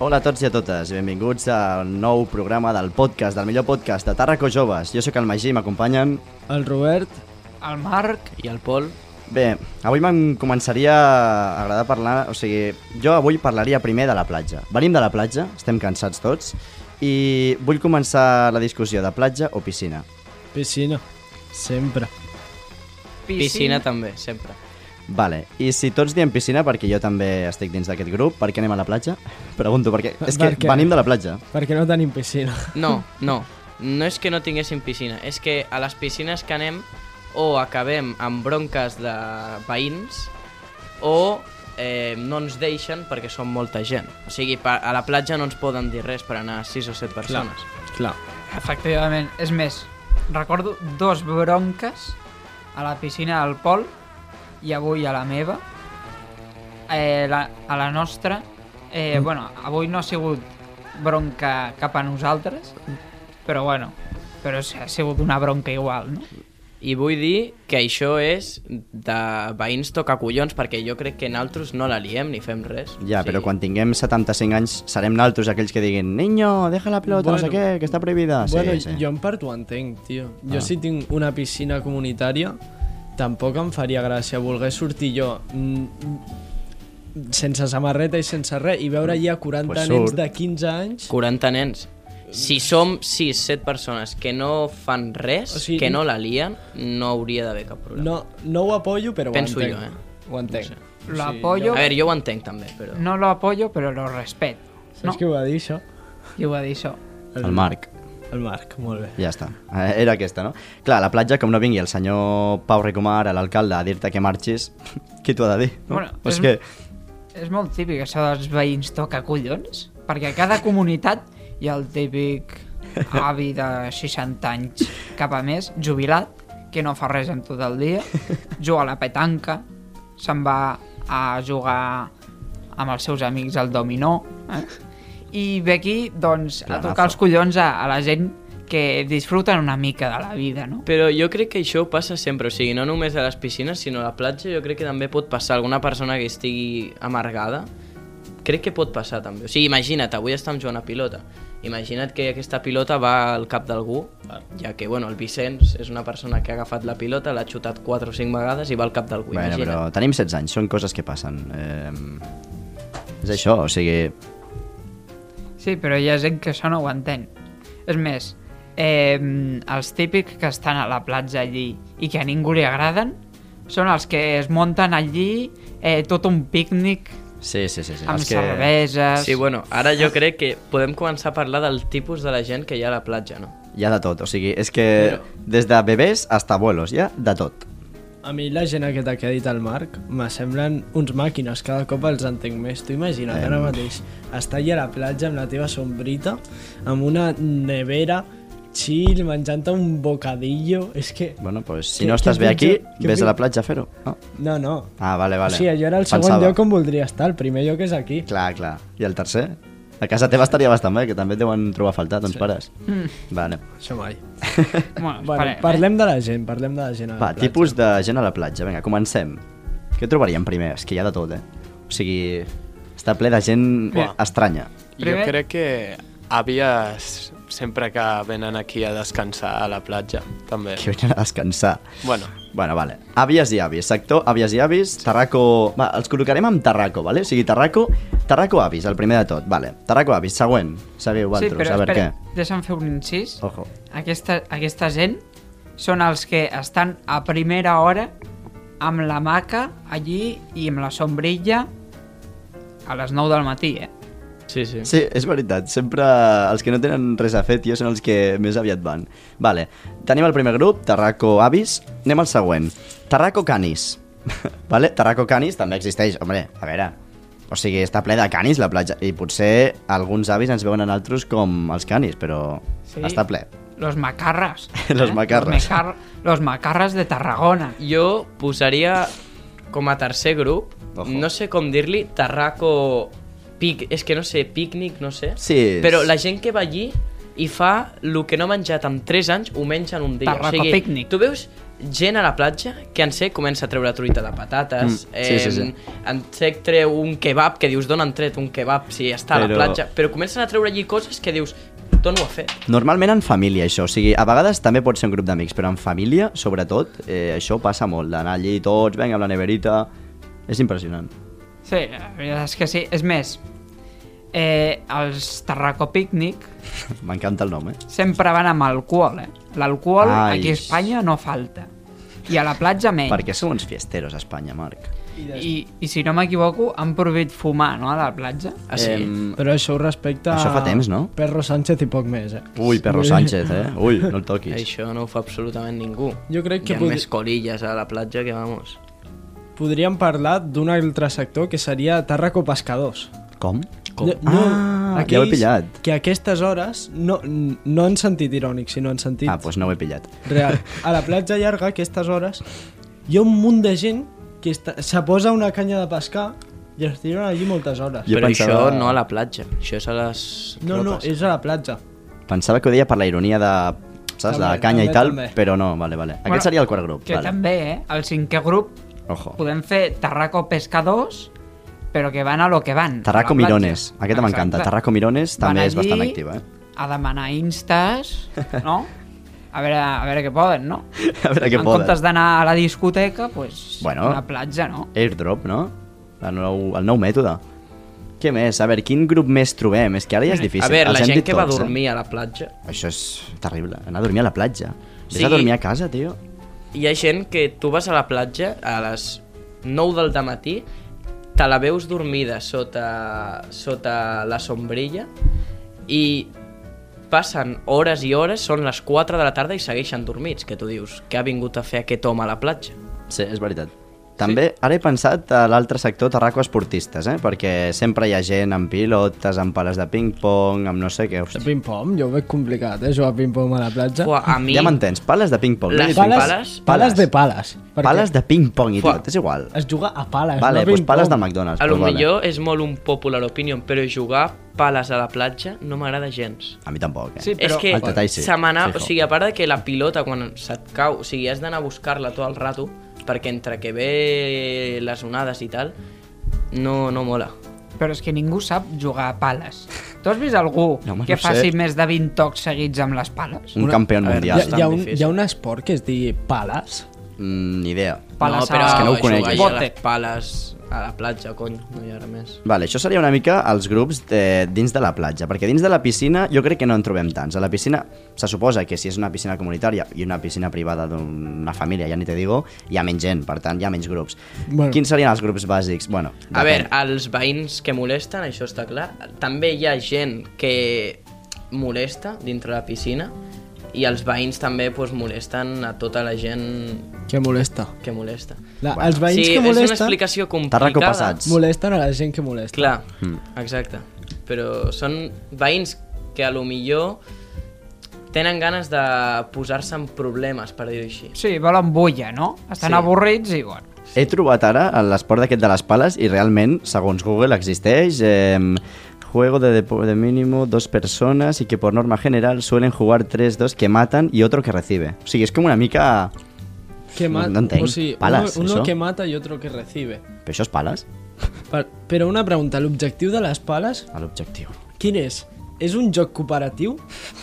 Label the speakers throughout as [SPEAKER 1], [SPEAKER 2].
[SPEAKER 1] Hola a tots i a totes, i benvinguts al nou programa del podcast, del millor podcast de Tàrraco Joves. Jo sóc el Magí, m'acompanyen.
[SPEAKER 2] El Robert,
[SPEAKER 3] el Marc i el Pol.
[SPEAKER 1] Bé, avui me'n començaria a agradar parlar, o sigui, jo avui parlaria primer de la platja. Venim de la platja, estem cansats tots, i vull començar la discussió de platja o piscina.
[SPEAKER 2] piscina, sempre.
[SPEAKER 3] Piscina, piscina també, sempre.
[SPEAKER 1] Vale, i si tots diem piscina, perquè jo també estic dins d'aquest grup, per què anem a la platja? Pregunto, perquè és que
[SPEAKER 2] Perquè-
[SPEAKER 1] venim de la platja.
[SPEAKER 2] Perquè no tenim piscina.
[SPEAKER 3] No, no. No és que no tinguéssim piscina, és que a les piscines que anem o acabem amb bronques de veïns o eh, no ens deixen perquè són molta gent. O sigui, pa- a la platja no ens poden dir res per anar 6 o 7 persones.
[SPEAKER 2] Clar.
[SPEAKER 4] Efectivament, és més, recordo dos bronques a la piscina del Pol i avui a la meva. Eh, la, a la nostra, eh,
[SPEAKER 3] Mm.
[SPEAKER 4] bueno, avui no ha sigut bronca cap a nosaltres, però bueno, però sí, ha sigut una bronca igual, no?
[SPEAKER 3] I vull dir que això és de veïns toca collons perquè jo crec que nosaltres no la liem ni fem res.
[SPEAKER 1] Ja,
[SPEAKER 3] O sigui,
[SPEAKER 1] però quan tinguem 75 anys serem naltros aquells que diguin Niño, deja la pelota, bueno, no sé
[SPEAKER 2] Bueno.
[SPEAKER 1] què, que està prohibida. Ah, Sí,
[SPEAKER 2] bueno,
[SPEAKER 1] sí.
[SPEAKER 2] jo en part ho entenc, tio. Jo
[SPEAKER 1] Ah.
[SPEAKER 2] si tinc una piscina comunitària, tampoc em faria gràcia voler sortir jo mm, sense samarreta i sense res i veure allà 40
[SPEAKER 1] Mm. Pues
[SPEAKER 2] pues
[SPEAKER 1] surt.
[SPEAKER 2] nens de 15 anys
[SPEAKER 3] 40 nens. Si som 6, 7 persones que no fan res,
[SPEAKER 2] O
[SPEAKER 3] o
[SPEAKER 2] sigui,
[SPEAKER 3] sigui, que
[SPEAKER 2] no-
[SPEAKER 3] no la lien, no hauria d'haver cap problema.
[SPEAKER 2] no, no ho apoyo, però
[SPEAKER 3] Penso
[SPEAKER 2] ho entenc.
[SPEAKER 3] jo, eh.
[SPEAKER 2] Ho entenc.
[SPEAKER 3] No
[SPEAKER 2] O
[SPEAKER 4] Lo
[SPEAKER 2] sigui,
[SPEAKER 4] apoyo.
[SPEAKER 3] A veure, jo ho entenc també, però...
[SPEAKER 4] No lo apoyo, però lo respeto.
[SPEAKER 2] Saps
[SPEAKER 4] No,
[SPEAKER 2] qui ho va dir, això?
[SPEAKER 4] qui ho va dir això?
[SPEAKER 1] El Marc.
[SPEAKER 2] El Marc, molt bé.
[SPEAKER 1] Ja està. Eh, Era aquesta, no? Clar, a la platja, com no vingui el senyor Pau Ricomar, l'alcalde, a dir-te que marxis, qui t'ho ha de dir? No?
[SPEAKER 4] Bueno,
[SPEAKER 1] és
[SPEAKER 4] és-
[SPEAKER 1] que...
[SPEAKER 4] És molt típic això dels veïns toca collons, perquè a cada comunitat hi ha el típic avi de 60 anys cap a més, jubilat, que no fa res en tot el dia, juga a la petanca, se'n va a jugar amb els seus amics al dominó, eh? i ve aquí, doncs, a
[SPEAKER 1] Planazo.
[SPEAKER 4] tocar els collons a, a la gent que disfruten una mica de la vida, no?
[SPEAKER 3] Però jo crec que això passa sempre, o sigui, no només a les piscines, sinó a la platja, jo crec que també pot passar alguna persona que estigui amargada. Crec que pot passar també. O sigui, imagina't, avui estem jugant a pilota. Imagina't que aquesta pilota va al cap d'algú, ja que, bueno, el Vicenç és una persona que ha agafat la pilota, l'ha xutat 4 o 5 vegades i va al cap d'algú,
[SPEAKER 1] Bueno,
[SPEAKER 3] imagina't.
[SPEAKER 1] però tenim 16 anys, són coses que passen. Eh, és això, o sigui...
[SPEAKER 4] Sí, però hi ha gent que això no ho entén. És més, eh, els típics que estan a la platja allí i que a ningú li agraden són els que es munten allí eh, tot un pícnic
[SPEAKER 1] Sí, sí, sí. sí.
[SPEAKER 4] amb
[SPEAKER 1] és
[SPEAKER 4] que...
[SPEAKER 1] que...
[SPEAKER 4] cerveses...
[SPEAKER 3] Sí, bueno, ara jo crec que podem començar a parlar del tipus de la gent que hi ha a la platja, no?
[SPEAKER 1] Hi ha de tot, o sigui, és que des de bebès hasta abuelos, hi ha de tot.
[SPEAKER 2] A mi la gent aquesta que ha dit el Marc me semblen uns màquines, cada cop els entenc més. Tu imagina't
[SPEAKER 1] Em.
[SPEAKER 2] ara mateix estar allà a la platja amb la teva sombrita, amb una nevera, chill, menjant un bocadillo, és que...
[SPEAKER 1] Bueno, pues, si
[SPEAKER 2] Que-
[SPEAKER 1] no
[SPEAKER 2] que
[SPEAKER 1] estàs bé aquí,
[SPEAKER 2] pitjor- que
[SPEAKER 1] vés a la
[SPEAKER 2] pitjor.
[SPEAKER 1] platja a fer-ho. No?
[SPEAKER 2] No, no.
[SPEAKER 1] Ah, vale, vale.
[SPEAKER 2] O sigui, jo era el segon
[SPEAKER 1] Pensava.
[SPEAKER 2] lloc on voldria estar, el primer lloc és aquí.
[SPEAKER 1] Clar, clar. I el tercer? A casa teva estaria bastant bé, que també et deuen trobar a faltar, doncs sí. pares.
[SPEAKER 4] Mm.
[SPEAKER 1] Vale.
[SPEAKER 2] Això mai.
[SPEAKER 4] bueno,
[SPEAKER 2] Bueno,
[SPEAKER 4] esperem, eh?
[SPEAKER 2] parlem de la gent, parlem de la gent a la
[SPEAKER 1] Va,
[SPEAKER 2] platja.
[SPEAKER 1] tipus de gent a la platja. Vinga, comencem. Què trobaríem primer? És que hi ha de tot, eh? O sigui, està ple de gent
[SPEAKER 4] Buah.
[SPEAKER 1] estranya.
[SPEAKER 4] Primer-
[SPEAKER 5] Jo crec que àvies sempre que venen aquí a descansar a la platja, també.
[SPEAKER 1] Que venen a descansar.
[SPEAKER 5] Bueno,
[SPEAKER 1] Bueno, vale. Àvies i avis. Sector, àvies i avis. Tarraco... Va, els col·locarem amb Tarraco, vale? O sigui, Tarraco... Tarraco avis, el primer de tot. Vale. Tarraco avis, següent. Seguiu,
[SPEAKER 4] sí,
[SPEAKER 1] vosaltres,
[SPEAKER 4] però
[SPEAKER 1] a veure
[SPEAKER 4] espera,
[SPEAKER 1] què.
[SPEAKER 4] deixa'm fer un incís.
[SPEAKER 1] Ojo.
[SPEAKER 4] Aquesta, aquesta gent són els que estan a primera hora amb la maca allí i amb la sombrilla a les 9 del matí, eh?
[SPEAKER 3] Sí, sí.
[SPEAKER 1] Sí, és veritat. Sempre els que no tenen res a fer, tio, són els que més aviat van. Vale. Tenim el primer grup, Tarraco Avis. Anem al següent. Tarraco Canis. vale? Tarraco Canis també existeix. Hombre, a veure... O sigui, està ple de canis la platja i potser alguns avis ens veuen en altres com els canis, però
[SPEAKER 4] Sí.
[SPEAKER 1] està ple.
[SPEAKER 4] Los macarras. eh?
[SPEAKER 1] Los macarras.
[SPEAKER 4] Los, mecar- los macarras de Tarragona.
[SPEAKER 3] Jo posaria com a tercer grup,
[SPEAKER 1] Ojo.
[SPEAKER 3] no sé com dir-li, Tarraco... Pic, és que no sé, pícnic, no sé.
[SPEAKER 1] Sí, és-
[SPEAKER 3] Però la gent que va allí i fa el que no ha menjat en 3 anys, ho menja en un dia.
[SPEAKER 4] Tarraco pícnic.
[SPEAKER 3] Tu veus gent a la platja que en sec comença a treure truita de patates,
[SPEAKER 1] Mm, sí, sí, sí.
[SPEAKER 3] en sec treu un kebab, que dius, d'on han tret un kebab si està a
[SPEAKER 1] Però-
[SPEAKER 3] la platja? Però comencen a treure allí coses que dius, d'on ho ha fet?
[SPEAKER 1] Normalment en família, això. O sigui, a vegades també pot ser un grup d'amics, però en família, sobretot, eh, això passa molt. D'anar allí tots, vinga, amb la neverita... És impressionant.
[SPEAKER 4] Sí, la veritat és que sí. És més, eh, els Tarraco Picnic
[SPEAKER 1] M'encanta el nom, eh?
[SPEAKER 4] sempre van amb alcohol, eh? L'alcohol
[SPEAKER 1] Ai.
[SPEAKER 4] aquí a Espanya no falta. I a la platja menys.
[SPEAKER 1] Perquè són uns fiesteros a Espanya, Marc.
[SPEAKER 4] I, I si no m'equivoco, han prohibit fumar, no?, a la platja.
[SPEAKER 3] Ah, sí?
[SPEAKER 1] Em,
[SPEAKER 2] Però això ho respecta...
[SPEAKER 1] Això fa temps, no?
[SPEAKER 2] Perro Sánchez i poc més, eh?
[SPEAKER 1] Ui, Perro Sánchez, eh? Ui, no el toquis.
[SPEAKER 3] Això no ho fa absolutament ningú.
[SPEAKER 2] Jo crec que
[SPEAKER 3] Hi ha
[SPEAKER 2] podri-
[SPEAKER 3] més colilles a la platja que, vamos...
[SPEAKER 2] Podríem parlar d'un altre sector que seria Tarraco Pescadors.
[SPEAKER 1] Com?
[SPEAKER 2] No,
[SPEAKER 1] Ah, ja ho he pillat.
[SPEAKER 2] Que a aquestes hores, no, no en sentit irònic, sinó en sentit
[SPEAKER 1] Ah, doncs pues no ho he pillat.
[SPEAKER 2] real. A la platja llarga, a aquestes hores, hi ha un munt de gent que està, se posa una canya de pescar i es tiren allí moltes hores.
[SPEAKER 1] Jo
[SPEAKER 3] però
[SPEAKER 1] pensava-
[SPEAKER 3] això no a la platja, això és a les
[SPEAKER 2] No, no,
[SPEAKER 3] tropes.
[SPEAKER 2] és a la platja.
[SPEAKER 1] Pensava que ho deia per la ironia de... Saps? De
[SPEAKER 2] També,
[SPEAKER 1] canya i
[SPEAKER 2] també,
[SPEAKER 1] tal,
[SPEAKER 2] també.
[SPEAKER 1] però no, vale, vale.
[SPEAKER 4] Bueno,
[SPEAKER 1] Aquest seria el quart grup,
[SPEAKER 4] Que
[SPEAKER 1] vale.
[SPEAKER 4] també, eh? El cinquè grup
[SPEAKER 1] Ojo.
[SPEAKER 4] podem fer Tarraco Pescadors, però que van a lo que van. a la
[SPEAKER 1] Tarraco
[SPEAKER 4] platja.
[SPEAKER 1] Mirones. Aquesta m'encanta.
[SPEAKER 4] Exacte.
[SPEAKER 1] Tarraco Mirones
[SPEAKER 4] Van
[SPEAKER 1] també és
[SPEAKER 4] allí
[SPEAKER 1] bastant activa, eh?
[SPEAKER 4] a demanar instes, no? A veure, a veure què poden, no?
[SPEAKER 1] A veure què
[SPEAKER 4] en
[SPEAKER 1] poden.
[SPEAKER 4] comptes d'anar a la discoteca, pues,
[SPEAKER 1] Bueno.
[SPEAKER 4] bueno. a la platja, no?
[SPEAKER 1] Airdrop, no? El nou, el nou mètode. Què més? A veure, quin grup més trobem? És que ara ja és difícil.
[SPEAKER 3] A veure, la
[SPEAKER 1] Els hem
[SPEAKER 3] gent
[SPEAKER 1] dit
[SPEAKER 3] que va a
[SPEAKER 1] tots, eh?
[SPEAKER 3] dormir a la platja,
[SPEAKER 1] Això és terrible, anar a dormir a la platja. Vés
[SPEAKER 3] Sí.
[SPEAKER 1] a dormir a casa, tio.
[SPEAKER 3] hi ha gent que tu vas a la platja a les 9 del matí, te la veus dormida sota, sota la sombrilla i passen hores i hores, són les 4 de la tarda i segueixen dormits, que tu dius, què ha vingut a fer aquest home a la platja?
[SPEAKER 1] Sí, és veritat. També, sí. ara he pensat a l'altre sector terraco esportistes, eh? Perquè sempre hi ha gent amb pilotes, amb pales de ping-pong, amb no sé què.
[SPEAKER 2] De
[SPEAKER 1] Hosti.
[SPEAKER 2] ping-pong, jo ho veig complicat, eh, jugar a ping-pong a la platja.
[SPEAKER 3] Fuà, a mi...
[SPEAKER 1] Ja m'entens, pales de ping-pong.
[SPEAKER 3] Les
[SPEAKER 1] no he dit
[SPEAKER 2] pales,
[SPEAKER 1] ping-pong.
[SPEAKER 2] pales, pales de pales. perquè
[SPEAKER 1] Pales de ping-pong i
[SPEAKER 3] Fuà.
[SPEAKER 1] tot, és igual.
[SPEAKER 2] Es juga a pales,
[SPEAKER 1] Vale,
[SPEAKER 2] no
[SPEAKER 1] doncs
[SPEAKER 2] a ping-pong.
[SPEAKER 1] pales del McDonald's.
[SPEAKER 3] A lo
[SPEAKER 1] però vale.
[SPEAKER 3] millor és molt un popular opinion, però jugar pales a la platja no m'agrada gens.
[SPEAKER 1] A mi tampoc, eh?
[SPEAKER 4] Sí,
[SPEAKER 3] és
[SPEAKER 4] però-
[SPEAKER 3] que
[SPEAKER 1] Al detall sí,
[SPEAKER 3] se m'anà...
[SPEAKER 1] fijo.
[SPEAKER 3] O sigui, a part de que la pilota, quan se't cau, o sigui, has d'anar a buscar-la tot el rato, perquè entre que ve les onades i tal, no, no mola.
[SPEAKER 4] Però és que ningú sap jugar a pales. Tu has vist algú
[SPEAKER 1] No, home,
[SPEAKER 4] que
[SPEAKER 1] no sé.
[SPEAKER 4] faci més de 20 tocs seguits amb les pales?
[SPEAKER 1] Un campió
[SPEAKER 3] a veure,
[SPEAKER 1] mundial.
[SPEAKER 2] Hi ha,
[SPEAKER 3] bastant
[SPEAKER 2] hi, ha un,
[SPEAKER 3] difícil.
[SPEAKER 2] hi ha un esport que es digui pales?
[SPEAKER 1] Mm, ni idea.
[SPEAKER 4] Pales
[SPEAKER 3] no, però
[SPEAKER 4] a-
[SPEAKER 1] És que no ho eh?
[SPEAKER 3] jugar
[SPEAKER 1] conec,
[SPEAKER 3] allà
[SPEAKER 1] això.
[SPEAKER 3] a les pales a la platja, cony, no hi ha res més.
[SPEAKER 1] Vale, això seria una mica els grups de, dins de la platja, perquè dins de la piscina jo crec que no en trobem tants. A la piscina se suposa que si és una piscina comunitària i una piscina privada d'una família, ja ni te digo, hi ha menys gent, per tant, hi ha menys grups. Bueno.
[SPEAKER 2] Bueno.
[SPEAKER 1] Quins serien els grups bàsics? Bueno,
[SPEAKER 3] A veure,
[SPEAKER 1] depèn.
[SPEAKER 3] els veïns que molesten, això està clar. També hi ha gent que molesta dintre la piscina i els veïns també pues, molesten a tota la gent
[SPEAKER 2] Que molesta.
[SPEAKER 3] que molesta.
[SPEAKER 2] La, bueno. Els veïns
[SPEAKER 3] sí,
[SPEAKER 2] que
[SPEAKER 3] és una
[SPEAKER 2] molesten,
[SPEAKER 3] explicació complicada.
[SPEAKER 1] Tarraco passats.
[SPEAKER 2] molesten a la gent que molesta.
[SPEAKER 3] Clar, exacte. Però són veïns que a lo millor tenen ganes de posar-se en problemes, per dir-ho així.
[SPEAKER 4] Sí, volen bulla, no?
[SPEAKER 3] Sí.
[SPEAKER 4] Estan sí. avorrits i, bueno,
[SPEAKER 1] He trobat ara l'esport d'aquest de les pales i realment, segons Google, existeix... Eh, Juego de, depo- de mínimo dos personas y que por norma general suelen jugar tres, dos que matan y otro que recibe. O sigui, és com una mica...
[SPEAKER 2] Que
[SPEAKER 1] No-
[SPEAKER 2] mat,
[SPEAKER 1] no entenc.
[SPEAKER 2] O sigui,
[SPEAKER 1] Pales,
[SPEAKER 2] uno,
[SPEAKER 1] això?
[SPEAKER 2] uno que mata i otro que recibe.
[SPEAKER 1] Però això és pales?
[SPEAKER 2] Per, però una pregunta, l'objectiu de les pales,
[SPEAKER 1] A l'objectiu.
[SPEAKER 2] quin és? És un joc cooperatiu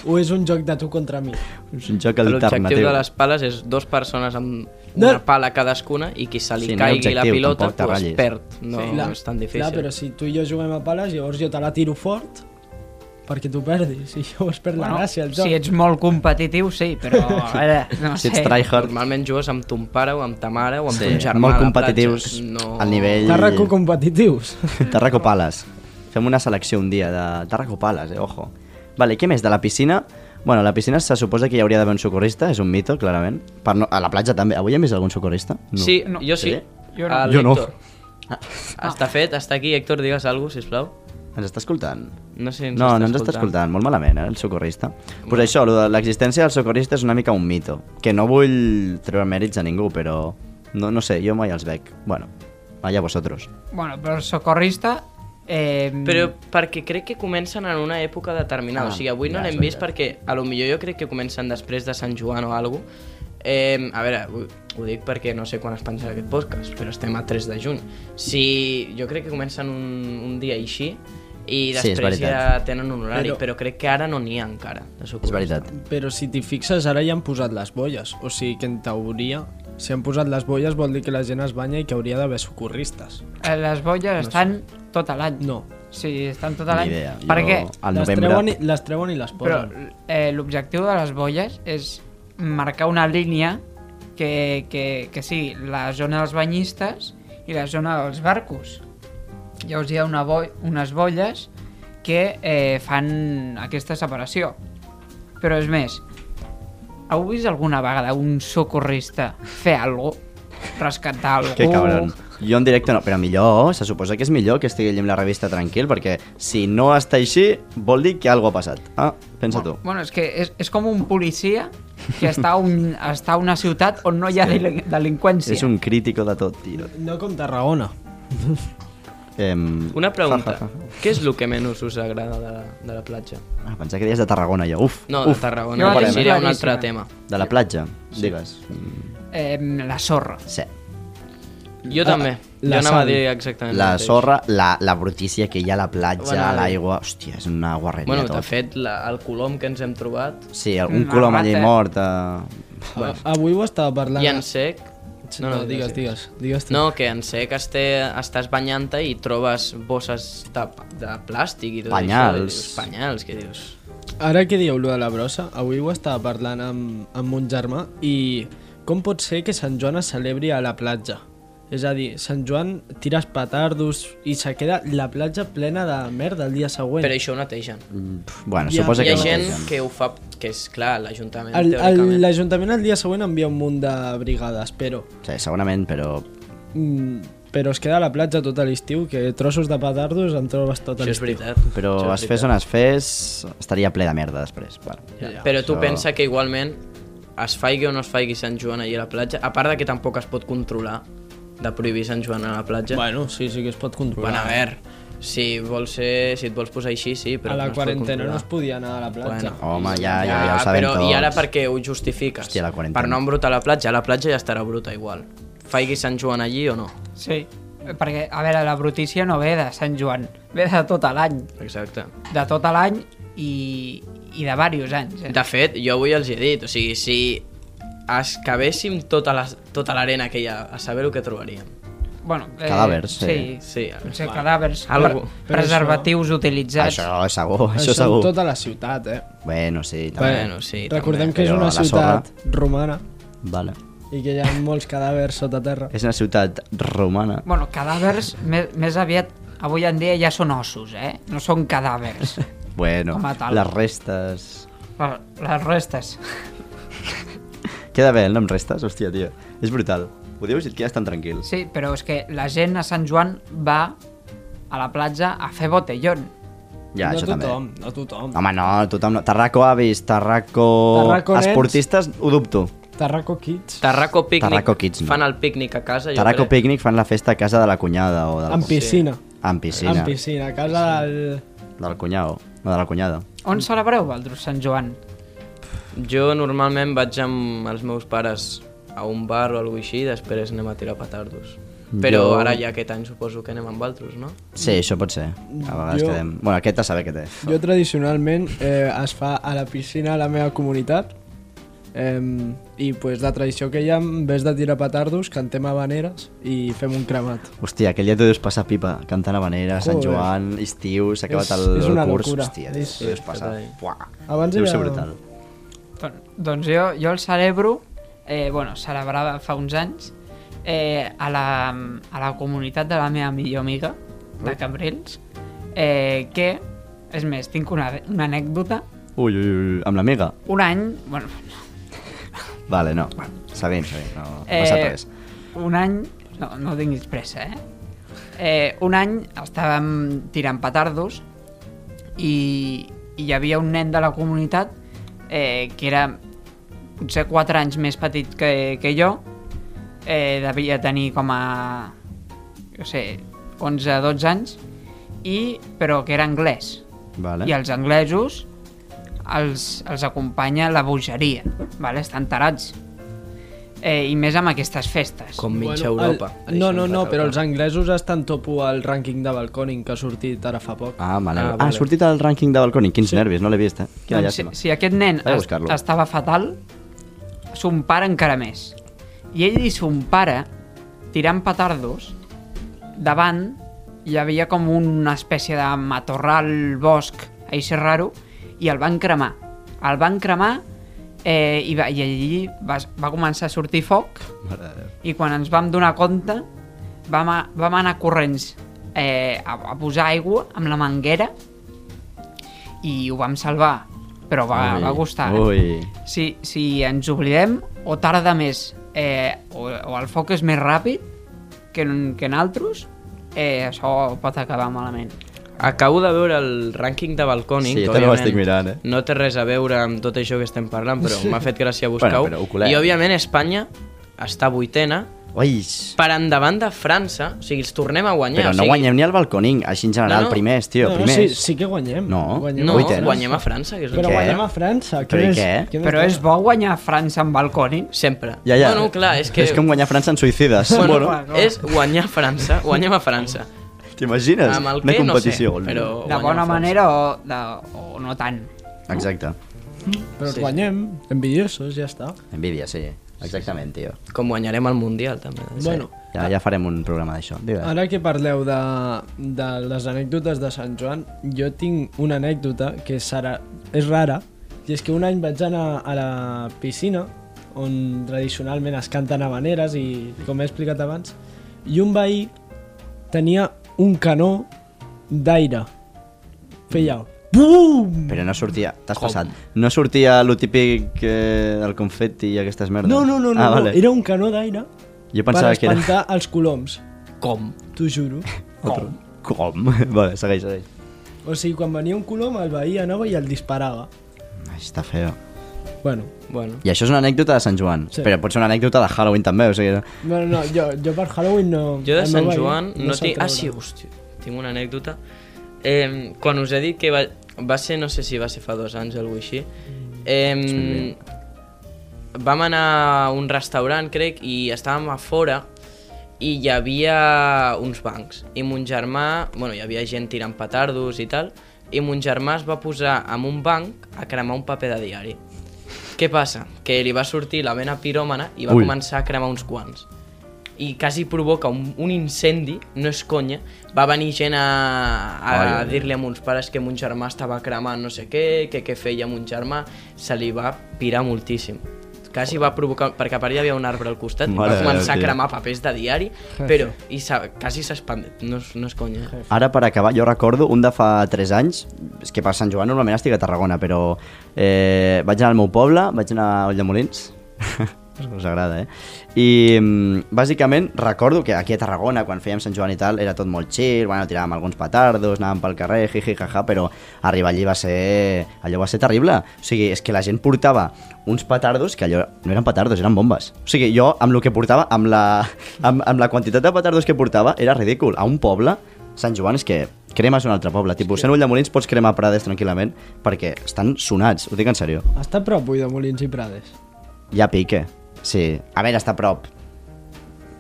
[SPEAKER 2] o és un joc de tu contra mi?
[SPEAKER 1] És un joc
[SPEAKER 3] L'objectiu
[SPEAKER 1] alternatiu.
[SPEAKER 3] de les pales és dos persones amb
[SPEAKER 2] No.
[SPEAKER 3] una pala cadascuna i qui se li
[SPEAKER 1] Sí, no hi ha
[SPEAKER 3] caigui la
[SPEAKER 1] objectiu,
[SPEAKER 3] pilota
[SPEAKER 1] tampoc te
[SPEAKER 3] pues,
[SPEAKER 1] ratllis.
[SPEAKER 3] perd. No
[SPEAKER 2] Clar,
[SPEAKER 3] és tan difícil.
[SPEAKER 2] Clar, però si tu i jo juguem a pales, llavors jo te la tiro fort perquè tu perdis i llavors perd la
[SPEAKER 4] bueno
[SPEAKER 2] gràcia el joc.
[SPEAKER 4] si ets molt competitiu, sí, però a veure, no
[SPEAKER 1] Si
[SPEAKER 4] sé.
[SPEAKER 1] ets tryhard,
[SPEAKER 3] Normalment jugues amb ton pare o amb ta mare o amb
[SPEAKER 1] Sí,
[SPEAKER 3] ton germà.
[SPEAKER 1] molt
[SPEAKER 3] a la
[SPEAKER 1] competitius
[SPEAKER 3] platja. no...
[SPEAKER 1] al nivell-
[SPEAKER 2] Tarraco competitius.
[SPEAKER 1] Tarraco Pales. Fem una selecció un dia de Tarraco Pales, eh? ojo. Vale, què més? De la piscina? Bueno, a la piscina se suposa que hi hauria d'haver un socorrista, és un mito, clarament. Per no... A la platja també. Avui hi ha més algun socorrista?
[SPEAKER 3] Sí,
[SPEAKER 4] No.
[SPEAKER 3] jo sí.
[SPEAKER 1] Sí?
[SPEAKER 4] Jo no. Ah.
[SPEAKER 3] El
[SPEAKER 1] Jo no.
[SPEAKER 3] Héctor. Està fet, està aquí. Héctor, digues alguna cosa, sisplau.
[SPEAKER 1] Ens està escoltant?
[SPEAKER 3] No sé si ens
[SPEAKER 1] no,
[SPEAKER 3] està
[SPEAKER 1] no ens està
[SPEAKER 3] escoltant.
[SPEAKER 1] escoltant, molt malament, eh, el socorrista. Pues això, lo de l'existència del socorrista és una mica un mito, que no vull treure mèrits a ningú, però no, no sé, jo mai els veig. Bueno, allà vosotros.
[SPEAKER 4] Bueno, però el socorrista... Eh,
[SPEAKER 3] Però perquè crec que comencen en una època determinada.
[SPEAKER 1] Ah,
[SPEAKER 3] o sigui, avui
[SPEAKER 1] ja,
[SPEAKER 3] no l'hem
[SPEAKER 1] és
[SPEAKER 3] vist
[SPEAKER 1] veritat.
[SPEAKER 3] perquè a lo millor jo crec que comencen després de Sant Joan o alguna cosa. Eh, a veure, ho, ho dic perquè no sé quan es penja aquest podcast, però estem a 3 de juny. Si jo crec que comencen un, un dia així i
[SPEAKER 1] Sí, és
[SPEAKER 3] després ja
[SPEAKER 1] veritat.
[SPEAKER 3] tenen un horari,
[SPEAKER 2] Però-
[SPEAKER 3] però, però crec que ara no n'hi ha encara. De
[SPEAKER 1] És veritat.
[SPEAKER 2] Però si t'hi fixes, ara ja han posat les boies. O sigui que, en teoria, si han posat les boies vol dir que la gent es banya i que hauria d'haver socorristes.
[SPEAKER 4] eh, les bolles no estan tot l'any.
[SPEAKER 2] No.
[SPEAKER 4] Sí, estan tot
[SPEAKER 1] Ni
[SPEAKER 4] l'any.
[SPEAKER 1] idea.
[SPEAKER 4] Per
[SPEAKER 1] Jo,
[SPEAKER 4] què?
[SPEAKER 1] Al
[SPEAKER 2] les,
[SPEAKER 1] novembre...
[SPEAKER 2] treuen i, les treuen i les
[SPEAKER 4] Però
[SPEAKER 2] posen.
[SPEAKER 4] eh, l'objectiu de les bolles és marcar una línia que, que, que sigui la zona dels banyistes i la zona dels barcos. Llavors hi ha una bo unes bolles que eh, fan aquesta separació. Però és més, heu vist alguna vegada un socorrista fer alguna cosa? Rescatar algú?
[SPEAKER 3] Uh.
[SPEAKER 1] Que cabron. Jo en directe no, però millor, se suposa que és millor que estigui allí amb la revista tranquil, perquè si no està així, vol dir que alguna ha passat. Ah, pensa tu.
[SPEAKER 4] Bueno, és que és, és com un policia que està a, un, està a una ciutat on no hi ha delin- delinqüència.
[SPEAKER 1] És un crítico de tot, tio.
[SPEAKER 2] No com Tarragona.
[SPEAKER 1] Eh,
[SPEAKER 3] Una pregunta. Què és el que menys us agrada de la, de la platja?
[SPEAKER 1] Ah, pensava que deies de Tarragona, jo. Uf,
[SPEAKER 3] No,
[SPEAKER 1] uf,
[SPEAKER 3] de Tarragona.
[SPEAKER 4] jo
[SPEAKER 3] No,
[SPEAKER 4] la tinc
[SPEAKER 3] seria un altre
[SPEAKER 4] claríssima.
[SPEAKER 3] tema.
[SPEAKER 1] De la platja, digues. Mm,
[SPEAKER 4] Eh, la sorra.
[SPEAKER 1] Sí.
[SPEAKER 3] Ah, Jo també.
[SPEAKER 2] Ah, la
[SPEAKER 3] jo anava
[SPEAKER 2] sal.
[SPEAKER 3] a dir exactament el
[SPEAKER 1] La
[SPEAKER 3] mateix.
[SPEAKER 1] sorra, la, la brutícia que hi ha a la platja,
[SPEAKER 3] Bueno,
[SPEAKER 1] a l'aigua... Hòstia, és una guarreria
[SPEAKER 3] Bueno, de
[SPEAKER 1] tot.
[SPEAKER 3] fet, la, el colom que ens hem trobat
[SPEAKER 1] Sí, un
[SPEAKER 4] Mm,
[SPEAKER 1] colom
[SPEAKER 4] la
[SPEAKER 1] allà
[SPEAKER 4] rata.
[SPEAKER 1] mort. Eh...
[SPEAKER 2] A, avui ho estava parlant...
[SPEAKER 3] i en sec...
[SPEAKER 2] No, no, digues, digues. digues tu.
[SPEAKER 3] No, que en sec este, estàs banyant-te i trobes bosses de, de plàstic i tot
[SPEAKER 1] Panyals.
[SPEAKER 3] això. i dius, Panyals, que dius...
[SPEAKER 2] Ara que dieu lo de la brossa, avui ho estava parlant amb, amb un germà i com pot ser que Sant Joan es celebri a la platja? És a dir, Sant Joan tires petardos i se queda la platja plena de merda el dia següent.
[SPEAKER 3] Però això ho netegen.
[SPEAKER 1] pf, Bueno,
[SPEAKER 2] Hi ha-
[SPEAKER 1] suposa
[SPEAKER 3] Hi
[SPEAKER 1] que
[SPEAKER 3] ha
[SPEAKER 1] no
[SPEAKER 3] gent
[SPEAKER 1] tenen.
[SPEAKER 3] que ho fa... Que és clar, l'Ajuntament,
[SPEAKER 2] El- el-
[SPEAKER 3] teòricament.
[SPEAKER 2] L'Ajuntament el dia següent envia un munt de brigades, però...
[SPEAKER 1] Sí, segurament, però...
[SPEAKER 2] Mm, però es queda a la platja tot l'estiu, que trossos de petardos en trobes tot
[SPEAKER 3] Això és
[SPEAKER 2] l'estiu.
[SPEAKER 3] veritat.
[SPEAKER 1] Però
[SPEAKER 3] això és
[SPEAKER 1] es fes on es fes, estaria ple de merda després. Bueno,
[SPEAKER 3] veritat. Però tu
[SPEAKER 1] Això-
[SPEAKER 3] pensa que igualment es faigui o no es faigui Sant Joan allà a la platja, a part de que tampoc es pot controlar de prohibir Sant Joan a la platja.
[SPEAKER 2] Bueno, sí, sí que es pot controlar.
[SPEAKER 3] Bueno, a veure, si vols ser, si et vols posar així, sí, però
[SPEAKER 2] a la
[SPEAKER 3] no es pot
[SPEAKER 2] quarantena no
[SPEAKER 3] controlar.
[SPEAKER 2] es podia anar a la platja.
[SPEAKER 3] Bueno.
[SPEAKER 1] Home, ja, ja, ja ho sabem
[SPEAKER 3] Ah, però,
[SPEAKER 1] tots.
[SPEAKER 3] I ara per què ho justifiques?
[SPEAKER 1] Hòstia, la quarantena.
[SPEAKER 3] per no embrutar la platja, la platja ja estarà bruta igual. Faigui Sant Joan allí o no?
[SPEAKER 4] Sí. Perquè, a veure, la brutícia no ve de Sant Joan, ve de tot l'any.
[SPEAKER 3] Exacte.
[SPEAKER 4] De tot l'any i, i de diversos anys. Eh?
[SPEAKER 3] De fet, jo avui els he dit, o sigui, si excavéssim tota la- tota l'arena que hi ha, a saber el que trobaríem.
[SPEAKER 4] Bueno, eh,
[SPEAKER 1] Cadàvers, sí.
[SPEAKER 4] Sí,
[SPEAKER 3] Sí,
[SPEAKER 4] potser
[SPEAKER 3] va.
[SPEAKER 4] cadàvers,
[SPEAKER 3] Algo.
[SPEAKER 4] pre-
[SPEAKER 2] Però
[SPEAKER 4] preservatius utilitzats.
[SPEAKER 1] Això és segur, això,
[SPEAKER 2] Això
[SPEAKER 1] això segur.
[SPEAKER 2] en tota la ciutat, eh?
[SPEAKER 1] Bueno, sí, també.
[SPEAKER 3] Bueno, sí,
[SPEAKER 2] Recordem
[SPEAKER 1] també,
[SPEAKER 2] que és
[SPEAKER 1] però
[SPEAKER 2] una
[SPEAKER 1] a la
[SPEAKER 2] ciutat romana
[SPEAKER 1] Vale.
[SPEAKER 2] i que hi ha molts cadàvers sota terra.
[SPEAKER 1] És una ciutat romana.
[SPEAKER 4] Bueno, cadàvers, més, més aviat, avui en dia ja són ossos, eh? No són cadàvers.
[SPEAKER 1] Bueno,
[SPEAKER 4] Home, tal.
[SPEAKER 1] les restes...
[SPEAKER 4] Les les restes.
[SPEAKER 1] Queda bé el nom restes? Hòstia, tio. És brutal. Ho dius i et quedes tan tranquil.
[SPEAKER 4] Sí, però és que la gent a Sant Joan va a la platja a fer botellón.
[SPEAKER 1] Ja,
[SPEAKER 2] no
[SPEAKER 1] això
[SPEAKER 2] tothom,
[SPEAKER 1] també.
[SPEAKER 2] no tothom.
[SPEAKER 1] Home, no, tothom no. Tarraco avis, tarraco...
[SPEAKER 2] Tarraco nens.
[SPEAKER 1] Esportistes, ho dubto.
[SPEAKER 2] Tarraco Kids.
[SPEAKER 3] Tarraco Picnic
[SPEAKER 1] Tarraco Kids, no.
[SPEAKER 3] fan el pícnic a casa. jo
[SPEAKER 1] Tarraco
[SPEAKER 3] crec.
[SPEAKER 1] Picnic fan la festa a casa de la cunyada o de la...
[SPEAKER 2] En piscina.
[SPEAKER 1] Amb piscina.
[SPEAKER 2] En piscina, a casa del...
[SPEAKER 1] Del cunyau. No, de la cunyada.
[SPEAKER 4] On celebreu, Valdros, Sant Joan?
[SPEAKER 3] Jo normalment vaig amb els meus pares a un bar o alguna cosa així i després anem a tirar petardos. Però
[SPEAKER 1] Jo-
[SPEAKER 3] ara ja aquest any suposo que anem amb altres, no?
[SPEAKER 1] Sí, això pot ser. A vegades
[SPEAKER 2] Jo-
[SPEAKER 1] quedem... Bueno, aquest a saber què té.
[SPEAKER 2] Jo tradicionalment eh, es fa a la piscina a la meva comunitat eh, i pues, la tradició que hi ha, en vez de tirar petardos, cantem habaneres i fem un cremat.
[SPEAKER 1] Hòstia, aquell dia t'ho deus passar pipa, cantant Habanera, Sant
[SPEAKER 2] Joder.
[SPEAKER 1] Joan, estiu, s'ha acabat
[SPEAKER 2] És-
[SPEAKER 1] el,
[SPEAKER 2] és una
[SPEAKER 1] el curs.
[SPEAKER 2] locura.
[SPEAKER 1] Hòstia,
[SPEAKER 2] És-
[SPEAKER 1] t'ho deus passar.
[SPEAKER 3] fatal.
[SPEAKER 1] Buah,
[SPEAKER 2] Abans
[SPEAKER 1] deu
[SPEAKER 2] era-
[SPEAKER 1] ser brutal.
[SPEAKER 4] Don- Doncs jo, jo el celebro, eh, bueno, celebrava fa uns anys, eh, a, la, a la comunitat de la meva millor amiga, de Cambrils, eh, que, és més, tinc una, una anècdota.
[SPEAKER 1] Ui, ui, ui, amb l'amiga?
[SPEAKER 4] Un any, bueno,
[SPEAKER 1] Vale, no. Seguim, seguim, no, no
[SPEAKER 4] Eh,
[SPEAKER 1] passa res.
[SPEAKER 4] un any, no, no tinguis pressa, eh? eh, un any estàvem tirant petardos i, i hi havia un nen de la comunitat eh, que era potser 4 anys més petit que, que jo eh, devia tenir com a jo sé, 11-12 anys i, però que era anglès
[SPEAKER 1] Vale.
[SPEAKER 4] i els anglesos els, els acompanya la bogeria vale? estan tarats eh, i més amb aquestes festes
[SPEAKER 3] Com mitja Europa.
[SPEAKER 2] El... No,
[SPEAKER 3] Deixa'm
[SPEAKER 2] no, no,
[SPEAKER 3] recalcar.
[SPEAKER 2] però els anglesos estan topo al rànquing de Balconing que ha sortit ara fa poc.
[SPEAKER 1] Ah, vale. Ah,
[SPEAKER 2] Ah,
[SPEAKER 1] ah, ha
[SPEAKER 2] vale.
[SPEAKER 1] sortit al rànquing de Balconi. Quins sí. nervis, no l'he vist, eh? Quina
[SPEAKER 4] Doncs si,
[SPEAKER 1] llàstima. Sí,
[SPEAKER 4] si aquest nen
[SPEAKER 1] Vaig a
[SPEAKER 4] es-
[SPEAKER 1] buscar-lo.
[SPEAKER 4] estava fatal, son pare encara més. I ell i son pare, tirant petardos, davant hi havia com una espècie de matorral, bosc, així raro, i el van cremar. El van cremar eh, i, va, i allí va, va començar a sortir foc i quan ens vam donar compte vam, a, vam anar corrents eh, a, a posar aigua amb la manguera i ho vam salvar però va,
[SPEAKER 1] Ui,
[SPEAKER 4] va costar eh?
[SPEAKER 1] ui.
[SPEAKER 4] Si, si ens oblidem o tarda més eh, o, o el foc és més ràpid que en, que en altres eh, això pot acabar malament
[SPEAKER 3] Acabo de veure el rànquing de Balcònic.
[SPEAKER 1] Sí,
[SPEAKER 3] que
[SPEAKER 1] també ho
[SPEAKER 3] òbviament
[SPEAKER 1] estic mirant, eh?
[SPEAKER 3] No té res a veure amb tot això que estem parlant, però m'ha fet gràcia buscar-ho.
[SPEAKER 1] Bueno, però ho colem.
[SPEAKER 3] I, òbviament, Espanya està vuitena,
[SPEAKER 1] Ui,
[SPEAKER 3] per endavant de França, o sigui, els tornem a guanyar.
[SPEAKER 1] però
[SPEAKER 3] o
[SPEAKER 1] no
[SPEAKER 3] sigui,
[SPEAKER 1] guanyem ni al Balconing, així en general,
[SPEAKER 3] No, no.
[SPEAKER 1] primers, tio,
[SPEAKER 2] no, no, sí,
[SPEAKER 1] primers.
[SPEAKER 2] sí que guanyem.
[SPEAKER 1] No,
[SPEAKER 2] guanyem
[SPEAKER 3] No,
[SPEAKER 1] Vuit Vuitens.
[SPEAKER 3] guanyem a França, que és
[SPEAKER 2] Però
[SPEAKER 1] Què?
[SPEAKER 2] guanyem a França.
[SPEAKER 1] Però i
[SPEAKER 2] què?
[SPEAKER 1] què?
[SPEAKER 2] què més
[SPEAKER 4] però
[SPEAKER 2] dona?
[SPEAKER 4] és bo guanyar a França amb balconi
[SPEAKER 3] Sempre.
[SPEAKER 1] Ja, ja.
[SPEAKER 3] Bueno, clar, és que...
[SPEAKER 1] És com guanyar França en suïcides.
[SPEAKER 3] Bueno,
[SPEAKER 1] Bueno,
[SPEAKER 4] clar.
[SPEAKER 3] és guanyar a França, guanyem a França.
[SPEAKER 1] t'imagines?
[SPEAKER 3] Amb el
[SPEAKER 1] Una
[SPEAKER 3] què, no sé,
[SPEAKER 1] competició.
[SPEAKER 3] però... guanyem
[SPEAKER 4] de
[SPEAKER 3] a
[SPEAKER 4] bona
[SPEAKER 3] França.
[SPEAKER 4] manera o, de, o no tant
[SPEAKER 1] Exacte.
[SPEAKER 2] Però
[SPEAKER 3] Sí.
[SPEAKER 2] sí. guanyem, envidiosos, ja està.
[SPEAKER 1] Envidia, sí. Exactament, tio.
[SPEAKER 3] Com guanyarem el Mundial, també.
[SPEAKER 2] Sí. Bueno,
[SPEAKER 1] Ja, ja farem un programa d'això. Digues.
[SPEAKER 2] ara que parleu de, de les anècdotes de Sant Joan, jo tinc una anècdota que serà, és rara, i és que un any vaig anar a la piscina, on tradicionalment es canten habaneres i, com he explicat abans, i un veí tenia un canó d'aire. Feia...
[SPEAKER 1] Mm.
[SPEAKER 2] Bum!
[SPEAKER 1] Però no sortia... T'has passat. No sortia lo típic eh, el confeti i aquestes merdes?
[SPEAKER 2] No, no, no, no,
[SPEAKER 1] Ah,
[SPEAKER 2] no,
[SPEAKER 1] vale.
[SPEAKER 2] era un canó d'aire
[SPEAKER 1] Jo
[SPEAKER 2] per
[SPEAKER 1] pensava que era...
[SPEAKER 2] espantar els coloms,
[SPEAKER 3] Com?
[SPEAKER 2] t'ho juro.
[SPEAKER 1] Com? Com? Vale, segueix, segueix.
[SPEAKER 2] O sigui, quan venia un colom, el veí anava i el disparava.
[SPEAKER 1] Ai, està feo.
[SPEAKER 2] Bueno,
[SPEAKER 3] Bueno.
[SPEAKER 1] I això és una anècdota de Sant Joan,
[SPEAKER 2] Sí.
[SPEAKER 1] però pot ser una anècdota de Halloween també, o sigui...
[SPEAKER 2] bueno no, jo, jo per Halloween no...
[SPEAKER 3] Jo de
[SPEAKER 2] el
[SPEAKER 3] Sant
[SPEAKER 2] meu veí
[SPEAKER 3] Joan no,
[SPEAKER 2] se'l
[SPEAKER 3] tinc... Ah,
[SPEAKER 2] traurà.
[SPEAKER 3] sí, hòstia, tinc una anècdota. Eh, quan us he dit que va, va ser, no sé si va ser fa dos anys o alguna cosa així, eh, vam anar a un restaurant, crec, i estàvem a fora i hi havia uns bancs. I mon germà, bueno, hi havia gent tirant petardos i tal, i mon germà es va posar en un banc a cremar un paper de diari. Què passa? Que li va sortir la vena piròmana i va
[SPEAKER 1] Ui.
[SPEAKER 3] Ui. començar a cremar uns quants. I quasi provoca un, un incendi, no és conya. Va venir gent a, a
[SPEAKER 1] Ai, ai, ai.
[SPEAKER 3] dir-li a mons pares que mon germà estava cremant no sé què, que què feia mon germà. Se li va pirar moltíssim. Quasi va provocar... Perquè a part hi havia un arbre al costat i
[SPEAKER 1] Mare
[SPEAKER 3] va
[SPEAKER 1] de
[SPEAKER 3] començar
[SPEAKER 1] Déu,
[SPEAKER 3] a
[SPEAKER 1] tio.
[SPEAKER 3] cremar papers de diari, però i s'ha- quasi s'ha expandit. No, és- no és conya.
[SPEAKER 1] Ara, per acabar, jo recordo un de fa 3 anys, és que per Sant Joan normalment estic a Tarragona, però eh, vaig anar al meu poble, vaig anar a Ulldemolins, us agrada, eh? I mm, bàsicament recordo que aquí a Tarragona, quan fèiem Sant Joan i tal, era tot molt chill, bueno, tiràvem alguns petardos, anàvem pel carrer, jiji, jaja, però arribar allí va ser... allò va ser terrible. O sigui, és que la gent portava uns petardos que allò no eren petardos, eren bombes. O sigui, jo amb el que portava, amb la, amb, amb la quantitat de petardos que portava, era ridícul. A un poble, Sant Joan és que cremes un altre poble. Tipus, sent Ulldemolins pots cremar Prades tranquil·lament perquè estan sonats, ho dic en sèrio.
[SPEAKER 2] Està a prop, avui, de Molins i Prades.
[SPEAKER 1] Ja pica, sí. A veure, està a prop.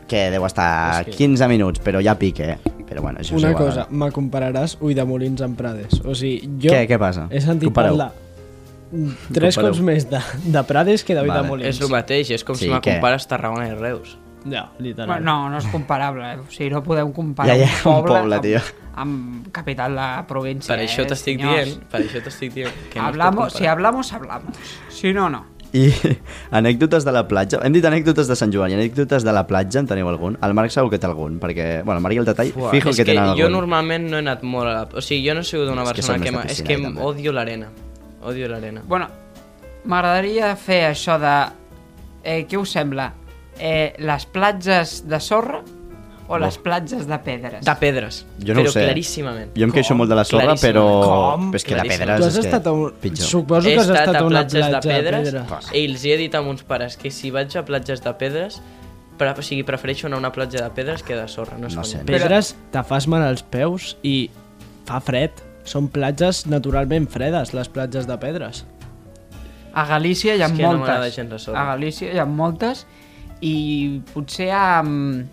[SPEAKER 1] Que deu estar 15 minuts, però ja pica, eh? Però bueno, això
[SPEAKER 2] Una
[SPEAKER 1] és igual. eh?
[SPEAKER 2] cosa,
[SPEAKER 3] eh?
[SPEAKER 2] me compararàs Ui de Molins amb Prades. O sigui, jo
[SPEAKER 1] Què- què passa?
[SPEAKER 2] he sentit
[SPEAKER 1] Compareu.
[SPEAKER 2] parlar tres
[SPEAKER 1] Compareu.
[SPEAKER 2] cops més de, de Prades que de Ui
[SPEAKER 1] Vale.
[SPEAKER 2] de Molins.
[SPEAKER 3] És el mateix, és com
[SPEAKER 1] Sí,
[SPEAKER 3] sí, si me
[SPEAKER 1] què?
[SPEAKER 3] compares Tarragona i Reus.
[SPEAKER 2] Ja, literal.
[SPEAKER 4] Bueno, no, no és comparable, eh? o sigui, no podeu comparar
[SPEAKER 1] Ja, ja,
[SPEAKER 4] un
[SPEAKER 1] un
[SPEAKER 4] poble,
[SPEAKER 1] poble,
[SPEAKER 4] amb,
[SPEAKER 1] tio.
[SPEAKER 4] amb capital de província.
[SPEAKER 3] Per això
[SPEAKER 4] eh,
[SPEAKER 3] t'estic
[SPEAKER 4] senyors?
[SPEAKER 3] dient, per això t'estic dient. Que no es pot
[SPEAKER 4] Hablamos, si
[SPEAKER 3] comparar.
[SPEAKER 4] hablamos, hablamos. Si no, no.
[SPEAKER 1] I anècdotes de la platja. Hem dit anècdotes de Sant Joan i anècdotes de la platja, en teniu algun? El Marc segur que té algun, perquè... Bueno, el Marc i el detall,
[SPEAKER 3] Buah,
[SPEAKER 1] fijo
[SPEAKER 3] és
[SPEAKER 1] que tenen
[SPEAKER 3] jo
[SPEAKER 1] algun.
[SPEAKER 3] normalment no he anat molt a la... O sigui, jo no he sigut una
[SPEAKER 1] És que
[SPEAKER 3] persona
[SPEAKER 1] som
[SPEAKER 3] que...
[SPEAKER 1] més de
[SPEAKER 3] m'ha- És
[SPEAKER 1] piscina,
[SPEAKER 3] que
[SPEAKER 1] i també.
[SPEAKER 3] odio l'arena. Odio l'arena.
[SPEAKER 4] Bueno, m'agradaria fer això de... Eh, què us sembla? Eh, les platges de sorra O les platges de pedres.
[SPEAKER 3] De pedres.
[SPEAKER 1] Jo no
[SPEAKER 3] però
[SPEAKER 1] ho sé.
[SPEAKER 3] claríssimament.
[SPEAKER 1] Jo em queixo molt de la sorra,
[SPEAKER 3] Claríssimament.
[SPEAKER 1] però...
[SPEAKER 2] Com?
[SPEAKER 1] És que de
[SPEAKER 3] Claríssim.
[SPEAKER 1] pedres
[SPEAKER 2] Tu has
[SPEAKER 1] és que...
[SPEAKER 2] estat a un...
[SPEAKER 1] Pitjor.
[SPEAKER 2] Suposo
[SPEAKER 3] he
[SPEAKER 2] que has
[SPEAKER 3] estat,
[SPEAKER 2] estat
[SPEAKER 3] a
[SPEAKER 2] a una
[SPEAKER 3] platges
[SPEAKER 2] platja
[SPEAKER 3] de pedres
[SPEAKER 2] de pedra.
[SPEAKER 3] i els hi he dit a uns pares que si vaig a platges de pedres pre o sigui, prefereixo anar a una platja de pedres que de sorra. No, és
[SPEAKER 1] No
[SPEAKER 3] com-
[SPEAKER 1] sé.
[SPEAKER 2] Pedres te fas mal als peus i fa fred. Són platges naturalment fredes, les platges de pedres.
[SPEAKER 4] A Galícia hi ha
[SPEAKER 3] És que no m'agrada
[SPEAKER 4] moltes.
[SPEAKER 3] gens la sorra.
[SPEAKER 4] a Galícia hi ha moltes i potser a, mm,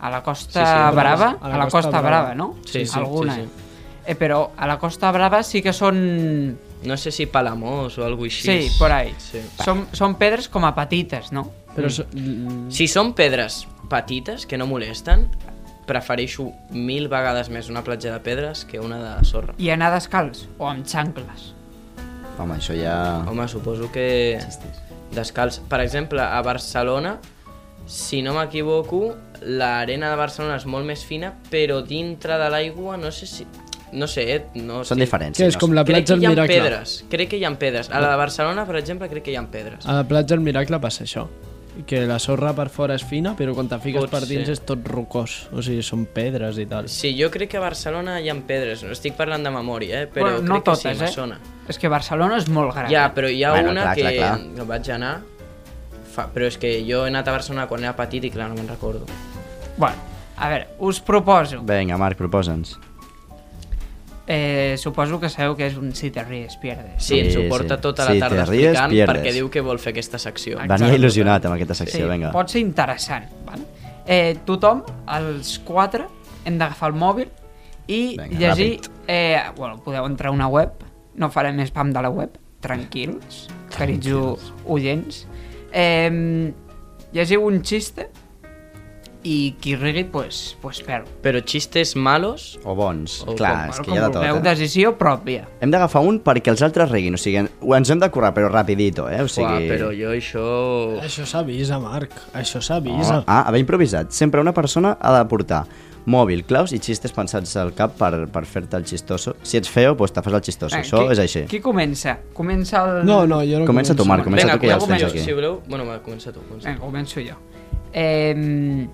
[SPEAKER 4] a la Costa
[SPEAKER 3] Sí, sí, a la-
[SPEAKER 4] Brava, a la, Costa, Brava, no?
[SPEAKER 3] Sí, sí,
[SPEAKER 4] Alguna.
[SPEAKER 3] sí, sí.
[SPEAKER 4] Eh, però a la Costa Brava sí que són...
[SPEAKER 3] No sé si Palamós o alguna cosa així.
[SPEAKER 4] Sí, por ahí.
[SPEAKER 3] Sí.
[SPEAKER 4] Són, són pedres com a petites, no?
[SPEAKER 2] Però mm.
[SPEAKER 3] Si són pedres petites, que no molesten, prefereixo mil vegades més una platja de pedres que una de sorra.
[SPEAKER 4] I anar descalç o amb xancles.
[SPEAKER 1] Home, això ja...
[SPEAKER 3] Home, suposo que descalç. Per exemple, a Barcelona, si no m'equivoco, l'arena de Barcelona és molt més fina, però dintre de l'aigua no sé si... No sé, eh, no
[SPEAKER 1] Són
[SPEAKER 3] estic-
[SPEAKER 1] diferents.
[SPEAKER 2] Què és, com la
[SPEAKER 3] Crec
[SPEAKER 2] platja
[SPEAKER 3] que
[SPEAKER 2] del
[SPEAKER 3] hi ha
[SPEAKER 2] Miracle?
[SPEAKER 3] pedres, crec que hi ha pedres. A la de Barcelona, per exemple, crec que hi ha pedres.
[SPEAKER 2] A la platja del Miracle passa això, que la sorra per fora és fina, però quan te fiques
[SPEAKER 3] Pot
[SPEAKER 2] per dins
[SPEAKER 3] ser.
[SPEAKER 2] és tot rocós, o sigui, són pedres i tal.
[SPEAKER 3] Sí, jo crec que a Barcelona hi ha pedres, no estic parlant de memòria, eh? però
[SPEAKER 4] Bueno, no
[SPEAKER 3] crec
[SPEAKER 4] totes,
[SPEAKER 3] que sí, me
[SPEAKER 4] eh?
[SPEAKER 3] sona.
[SPEAKER 4] És que Barcelona és molt gran.
[SPEAKER 3] Ja, però hi ha
[SPEAKER 1] Bueno,
[SPEAKER 3] una
[SPEAKER 1] clar,
[SPEAKER 3] que
[SPEAKER 1] clar, clar.
[SPEAKER 3] que vaig anar, fa... però és que jo he anat a Barcelona quan era petit i clar, no me'n recordo.
[SPEAKER 4] Bueno, a veure, us proposo.
[SPEAKER 1] Vinga, Marc, proposa'ns.
[SPEAKER 4] Eh, suposo que sabeu que és un si te ries, pierdes.
[SPEAKER 3] Sí, ens
[SPEAKER 1] Sí,
[SPEAKER 3] ho porta
[SPEAKER 1] sí.
[SPEAKER 3] tota
[SPEAKER 1] Si
[SPEAKER 3] la
[SPEAKER 1] te
[SPEAKER 3] tarda
[SPEAKER 1] ries,
[SPEAKER 3] explicant
[SPEAKER 1] pierdes.
[SPEAKER 3] perquè diu que vol fer aquesta secció.
[SPEAKER 1] Venia il·lusionat amb aquesta secció, vinga.
[SPEAKER 4] Pot ser interessant, val? Eh, tothom, els quatre, hem d'agafar el mòbil i
[SPEAKER 1] Vinga,
[SPEAKER 4] llegir...
[SPEAKER 1] ràpid.
[SPEAKER 4] Eh, bueno, podeu entrar a una web, no farem spam de la web, tranquils, carits u- oients. Eh, llegiu un xiste i qui rigui, pues, pues perd.
[SPEAKER 3] Però xistes malos...
[SPEAKER 1] O bons.
[SPEAKER 3] O
[SPEAKER 1] Clar,
[SPEAKER 3] com-
[SPEAKER 1] és
[SPEAKER 4] Bueno,
[SPEAKER 1] que hi ha de
[SPEAKER 4] com vulgueu,
[SPEAKER 1] tot. Eh?
[SPEAKER 4] decisió pròpia.
[SPEAKER 1] Hem d'agafar un perquè els altres riguin, o sigui, ho ens hem de currar, però rapidito, eh? O
[SPEAKER 3] Sí. Uà,
[SPEAKER 1] sigui...
[SPEAKER 3] però jo això...
[SPEAKER 2] Això s'avisa, Marc, això
[SPEAKER 1] Oh,
[SPEAKER 2] s'avisa.
[SPEAKER 1] ah, haver improvisat. Sempre una persona ha de portar mòbil, claus i xistes pensats al cap per, per fer-te el xistoso. Si ets feo, doncs te fas el xistoso.
[SPEAKER 4] Eh,
[SPEAKER 1] Això
[SPEAKER 4] qui,
[SPEAKER 1] és així.
[SPEAKER 4] Qui comença? Comença el...
[SPEAKER 2] No, no, jo no
[SPEAKER 1] Comença tu, Marc, comença
[SPEAKER 3] Vinga,
[SPEAKER 1] tu que ja els tens
[SPEAKER 3] comença
[SPEAKER 1] aquí.
[SPEAKER 3] si voleu... Bueno, va, comença tu. Comença.
[SPEAKER 4] Vinga, començo jo. Eh,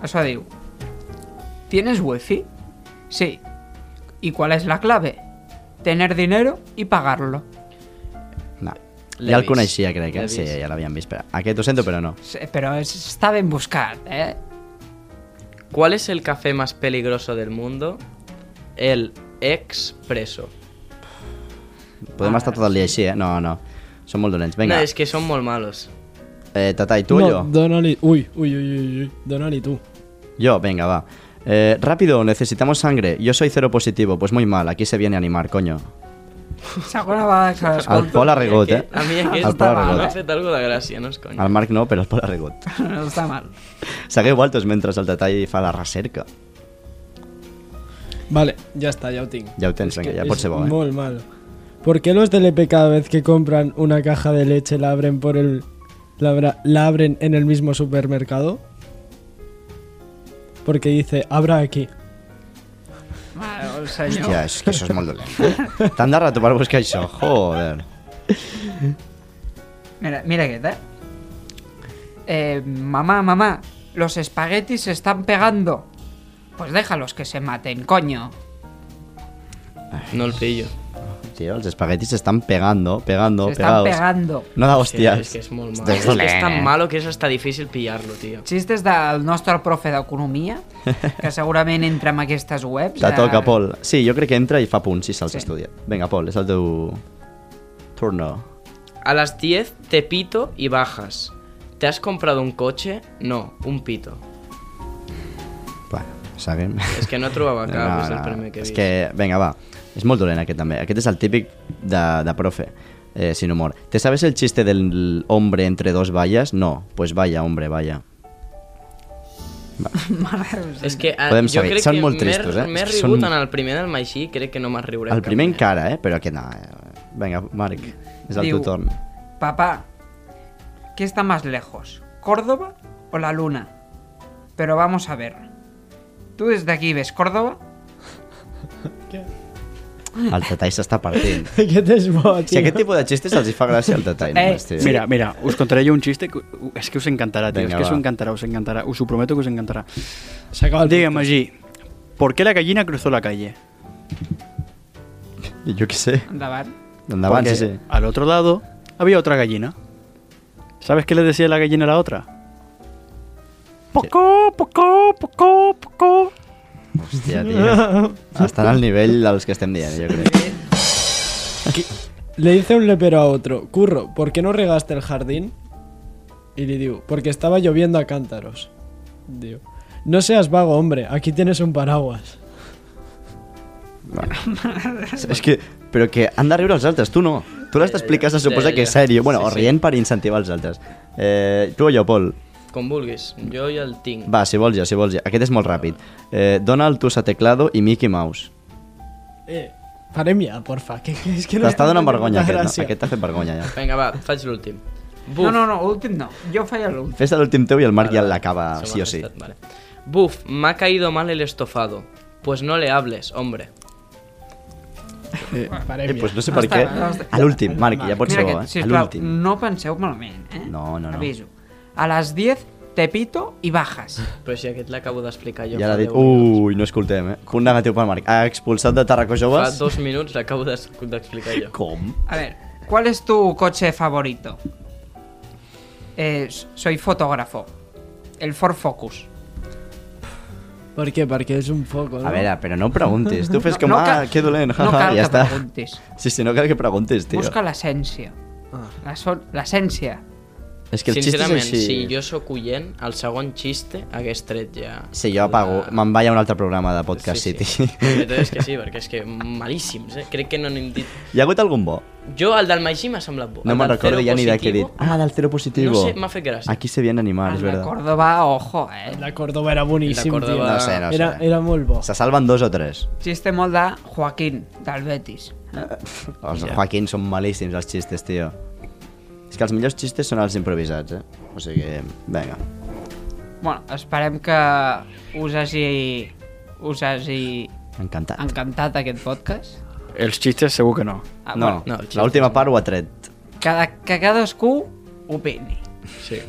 [SPEAKER 4] això diu... ¿Tienes wifi? Sí. ¿Y cuál es la clave? Tener dinero y pagarlo.
[SPEAKER 1] No.
[SPEAKER 3] L'he
[SPEAKER 1] Ja el
[SPEAKER 3] vist.
[SPEAKER 1] coneixia, crec, eh?
[SPEAKER 3] L'he
[SPEAKER 1] Sí,
[SPEAKER 3] vist.
[SPEAKER 1] ja l'havíem vist. Però... Aquest ho sento, però no.
[SPEAKER 4] Sí, Però és, està ben buscat, eh?
[SPEAKER 3] ¿Cuál es el café más peligroso del mundo? El expreso.
[SPEAKER 1] Podem estar tot el dia així, eh? No, no. Som molt dolents.
[SPEAKER 3] Ah, No,
[SPEAKER 1] Vinga,
[SPEAKER 3] és que són molt malos.
[SPEAKER 1] eh, Tatai, tu o
[SPEAKER 2] no,
[SPEAKER 1] jo?
[SPEAKER 2] dóna-li... Ui, ui, ui, ui, ui, dóna-li tu.
[SPEAKER 1] Yo, venga, va. Eh, rápido, necesitamos sangre. Yo soy cero positivo. Pues muy mal, aquí se viene a animar, coño.
[SPEAKER 4] Segona vegada que
[SPEAKER 1] Al
[SPEAKER 4] l'escolto.
[SPEAKER 1] Pol Arregot, eh?
[SPEAKER 3] A mi aquest
[SPEAKER 1] Al Pol
[SPEAKER 3] m'ha
[SPEAKER 1] Arregot.
[SPEAKER 3] fet algo de gràcia, no és conya.
[SPEAKER 1] Al Marc no, però al Pol Arregot.
[SPEAKER 4] No està mal.
[SPEAKER 1] Segueu altos mentre el detall fa la recerca.
[SPEAKER 2] Vale, ja està, ja ho tinc.
[SPEAKER 1] Ja ho tens, venga,
[SPEAKER 2] que
[SPEAKER 1] ja
[SPEAKER 2] es
[SPEAKER 1] pot ser bo, eh?
[SPEAKER 2] Muy malo. ¿Por qué los del EP cada vez que compran una caja de leche la abren por el la, abra- la abren en el mismo supermercado? Porque dice, abra aquí.
[SPEAKER 4] Mare, del senyor.
[SPEAKER 1] Hòstia, és que això és molt dolent. Tant de rato per buscar això, joder.
[SPEAKER 4] Mira, mira aquest, eh? Eh, mamá, mamá, los espaguetis se están pegando. Pues déjalos que se maten, coño.
[SPEAKER 3] No el pillo.
[SPEAKER 1] Tio, els espaguetis s'estan pegando, pegando,
[SPEAKER 4] se están
[SPEAKER 1] pegados.
[SPEAKER 4] pegando.
[SPEAKER 1] No de
[SPEAKER 3] Hòstia,
[SPEAKER 1] hòsties.
[SPEAKER 3] és que és molt
[SPEAKER 1] Estàs
[SPEAKER 3] malo. És, que és
[SPEAKER 1] dolent,
[SPEAKER 3] tan
[SPEAKER 1] eh?
[SPEAKER 3] malo que és hasta difícil pillar-lo, tio.
[SPEAKER 4] Xistes del nostre profe d'economia, que segurament entra en aquestes webs.
[SPEAKER 1] Te
[SPEAKER 4] a-
[SPEAKER 1] toca, Pol. Sí, jo crec que entra i fa punts si se'ls
[SPEAKER 4] Sí.
[SPEAKER 1] estudia. Vinga, Pol, és el teu... Turno.
[SPEAKER 3] A las 10 te pito y bajas. ¿Te has comprado un coche? No, un pito.
[SPEAKER 1] Bueno, seguim.
[SPEAKER 3] És que no trobava cap, és el primer que he
[SPEAKER 1] és
[SPEAKER 3] vist.
[SPEAKER 1] que, vinga, va. És molt dolent aquest també. Aquest és el típic de, de profe, eh, sin humor. ¿Te sabes el chiste del hombre entre dos vallas? No. Pues vaya, hombre, vaya.
[SPEAKER 3] És que eh,
[SPEAKER 1] Podem
[SPEAKER 3] jo
[SPEAKER 1] saber,
[SPEAKER 3] crec
[SPEAKER 1] són
[SPEAKER 3] que
[SPEAKER 1] molt
[SPEAKER 3] m'he-
[SPEAKER 1] tristos, eh?
[SPEAKER 3] m'he
[SPEAKER 1] És que
[SPEAKER 3] rigut
[SPEAKER 1] són-
[SPEAKER 3] en el primer del Magí, crec que no m'has riure.
[SPEAKER 1] El
[SPEAKER 3] cap
[SPEAKER 1] primer
[SPEAKER 3] més.
[SPEAKER 1] encara, eh? Però aquest no. eh? Vinga, Marc, és el
[SPEAKER 4] Diu-
[SPEAKER 1] teu torn.
[SPEAKER 4] Papá, ¿qué está más lejos? ¿Córdoba o la luna? Pero vamos a ver. ¿Tú desde aquí ves Córdoba?
[SPEAKER 1] El Tatall s'està partint.
[SPEAKER 2] Aquest és bo, tio.
[SPEAKER 1] Si aquest tipus de xistes els hi fa gràcia el Tatall.
[SPEAKER 4] Eh,
[SPEAKER 1] només, tio.
[SPEAKER 6] Mira, mira, us contaré jo un xiste que u- és que us encantará, tío.
[SPEAKER 1] Vinga,
[SPEAKER 6] es que us
[SPEAKER 1] va.
[SPEAKER 6] encantará, us encantará. Us ho prometo que us encantará.
[SPEAKER 2] S'acaba el
[SPEAKER 6] Dígame allí, ¿por qué la gallina cruzó la calle?
[SPEAKER 1] Jo què sé.
[SPEAKER 4] Endavant.
[SPEAKER 1] Endavant,
[SPEAKER 6] Porque
[SPEAKER 1] sí, sí.
[SPEAKER 6] al otro lado había otra gallina. ¿Sabes qué le decía la gallina a la otra? Pocó, pocó, pocó, pocó.
[SPEAKER 1] Hòstia, tio. Estan al nivell dels que estem dient, jo crec.
[SPEAKER 2] Le dice un lepero a otro, Curro, ¿por qué no regaste el jardín? Y le digo, porque estaba lloviendo a cántaros. Digo, no seas vago, hombre, aquí tienes un paraguas.
[SPEAKER 1] és que, però que han de riure els altres, tu no. Tu l'has d'explicar, se suposa
[SPEAKER 3] Eh, Ja,
[SPEAKER 1] que
[SPEAKER 3] ja.
[SPEAKER 1] és sèrio. Bueno,
[SPEAKER 3] Sí,
[SPEAKER 1] o
[SPEAKER 3] sí.
[SPEAKER 1] rient per incentivar els altres. Eh, tu o jo, Pol?
[SPEAKER 3] Com vulguis, jo ja el tinc.
[SPEAKER 1] Va, si vols ja, si vols ja. Aquest és molt ràpid. Eh, Donald, Tusa Teclado i Mickey Mouse.
[SPEAKER 2] Eh, parem ja, porfa, que, que és que no...
[SPEAKER 1] T'està donant
[SPEAKER 2] no té
[SPEAKER 1] vergonya
[SPEAKER 2] molta
[SPEAKER 1] aquest, no?
[SPEAKER 2] gràcia.
[SPEAKER 1] Aquest t'ha fet vergonya, ja.
[SPEAKER 3] Vinga, va, faig l'últim. Buf.
[SPEAKER 4] No, no, no, últim no. Jo faig l'últim.
[SPEAKER 1] Fes l'últim teu i el Marc ja
[SPEAKER 3] Vale,
[SPEAKER 1] l'acaba,
[SPEAKER 3] se me
[SPEAKER 1] sí
[SPEAKER 3] ha
[SPEAKER 1] o sí.
[SPEAKER 3] gestat, Vale. Buf, me ha caído mal el estofado. Pues no le hables, hombre.
[SPEAKER 2] Parem
[SPEAKER 1] Eh,
[SPEAKER 2] ja.
[SPEAKER 1] pues no sé per què.
[SPEAKER 4] està, ja està.
[SPEAKER 1] A l'últim, Marc, ja pot
[SPEAKER 4] Mira
[SPEAKER 1] ser bo,
[SPEAKER 4] aquest,
[SPEAKER 1] eh? A
[SPEAKER 4] sisplau,
[SPEAKER 1] l'últim.
[SPEAKER 4] no penseu malament, eh?
[SPEAKER 1] No, no, no.
[SPEAKER 4] Aviso. A les 10 te pito i bajas.
[SPEAKER 3] Però si aquest l'acabo d'explicar jo
[SPEAKER 1] Ja l'ha
[SPEAKER 3] fa
[SPEAKER 1] dit... Uh,
[SPEAKER 3] 10 minuts.
[SPEAKER 1] Ui, no escoltem, eh? Punt negatiu pel Marc. Ha expulsat de Tarraco
[SPEAKER 3] Fa
[SPEAKER 1] Joves?
[SPEAKER 3] dos minuts l'acabo d'es- d'explicar jo.
[SPEAKER 1] Com?
[SPEAKER 4] A ver, ¿cuál es tu coche favorito? Eh, soy fotógrafo. El Ford Focus.
[SPEAKER 2] Per què? Perquè és un foco, no?
[SPEAKER 1] A veure, però no preguntis. Tu fes com,
[SPEAKER 4] no
[SPEAKER 1] ah,
[SPEAKER 4] cal-
[SPEAKER 1] que dolent,
[SPEAKER 4] No
[SPEAKER 1] jaja,
[SPEAKER 4] cal
[SPEAKER 1] ja
[SPEAKER 4] que
[SPEAKER 1] està.
[SPEAKER 4] preguntis.
[SPEAKER 1] Sí, sí, no cal que preguntis, tio.
[SPEAKER 4] Busca l'essència.
[SPEAKER 2] Ah.
[SPEAKER 4] La so- L'essència.
[SPEAKER 1] És que el xiste és
[SPEAKER 3] Sincerament,
[SPEAKER 1] així.
[SPEAKER 3] si jo sóc oient, el segon xiste hagués tret ja...
[SPEAKER 1] Sí, jo apago. Me'n vaig a un altre programa de Podcast
[SPEAKER 3] sí,
[SPEAKER 1] City.
[SPEAKER 3] Sí. La veritat és que sí, perquè és que malíssims, eh? Crec que no n'hem dit...
[SPEAKER 1] Hi ha hagut algun bo?
[SPEAKER 3] Jo, el del Magí m'ha semblat bo.
[SPEAKER 1] No
[SPEAKER 3] El
[SPEAKER 1] me'n
[SPEAKER 3] del
[SPEAKER 1] recordo
[SPEAKER 3] Cero
[SPEAKER 1] ja ni de què he
[SPEAKER 3] Positivo,
[SPEAKER 1] dit. Ah, del cero positivo.
[SPEAKER 3] No sé, m'ha fet gràcia. Ah,
[SPEAKER 1] Aquí se vienen animals, Ah,
[SPEAKER 4] El
[SPEAKER 1] és
[SPEAKER 4] de
[SPEAKER 1] verdad.
[SPEAKER 4] Córdoba, ojo, eh?
[SPEAKER 2] La Córdoba era boníssim,
[SPEAKER 3] La Córdoba-
[SPEAKER 2] tio.
[SPEAKER 1] No sé, no sé.
[SPEAKER 2] era, era molt bo.
[SPEAKER 1] Se salven dos o tres.
[SPEAKER 4] Xiste molt de Joaquín, del Betis.
[SPEAKER 1] Els yeah. Joaquín són malíssims, els xistes, tio. És que els millors xistes són els improvisats, eh? O sigui, vinga.
[SPEAKER 4] Bueno, esperem que us hagi, us hagi
[SPEAKER 1] Encantat.
[SPEAKER 3] Ah,
[SPEAKER 4] encantat aquest podcast.
[SPEAKER 6] Els xistes segur que no.
[SPEAKER 4] Ah,
[SPEAKER 1] no,
[SPEAKER 3] no,
[SPEAKER 1] no
[SPEAKER 3] el xiste.
[SPEAKER 1] l'última part ho ha tret.
[SPEAKER 4] cada, que cadascú opini.
[SPEAKER 3] Sí.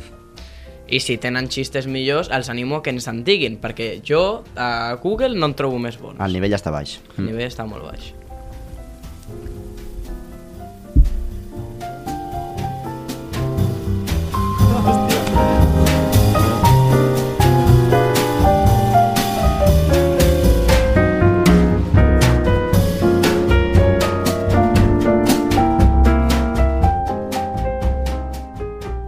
[SPEAKER 3] I si tenen xistes millors, els animo a que ens en diguin, perquè jo a Google no en trobo més bons.
[SPEAKER 1] El nivell està baix.
[SPEAKER 3] El nivell està molt baix.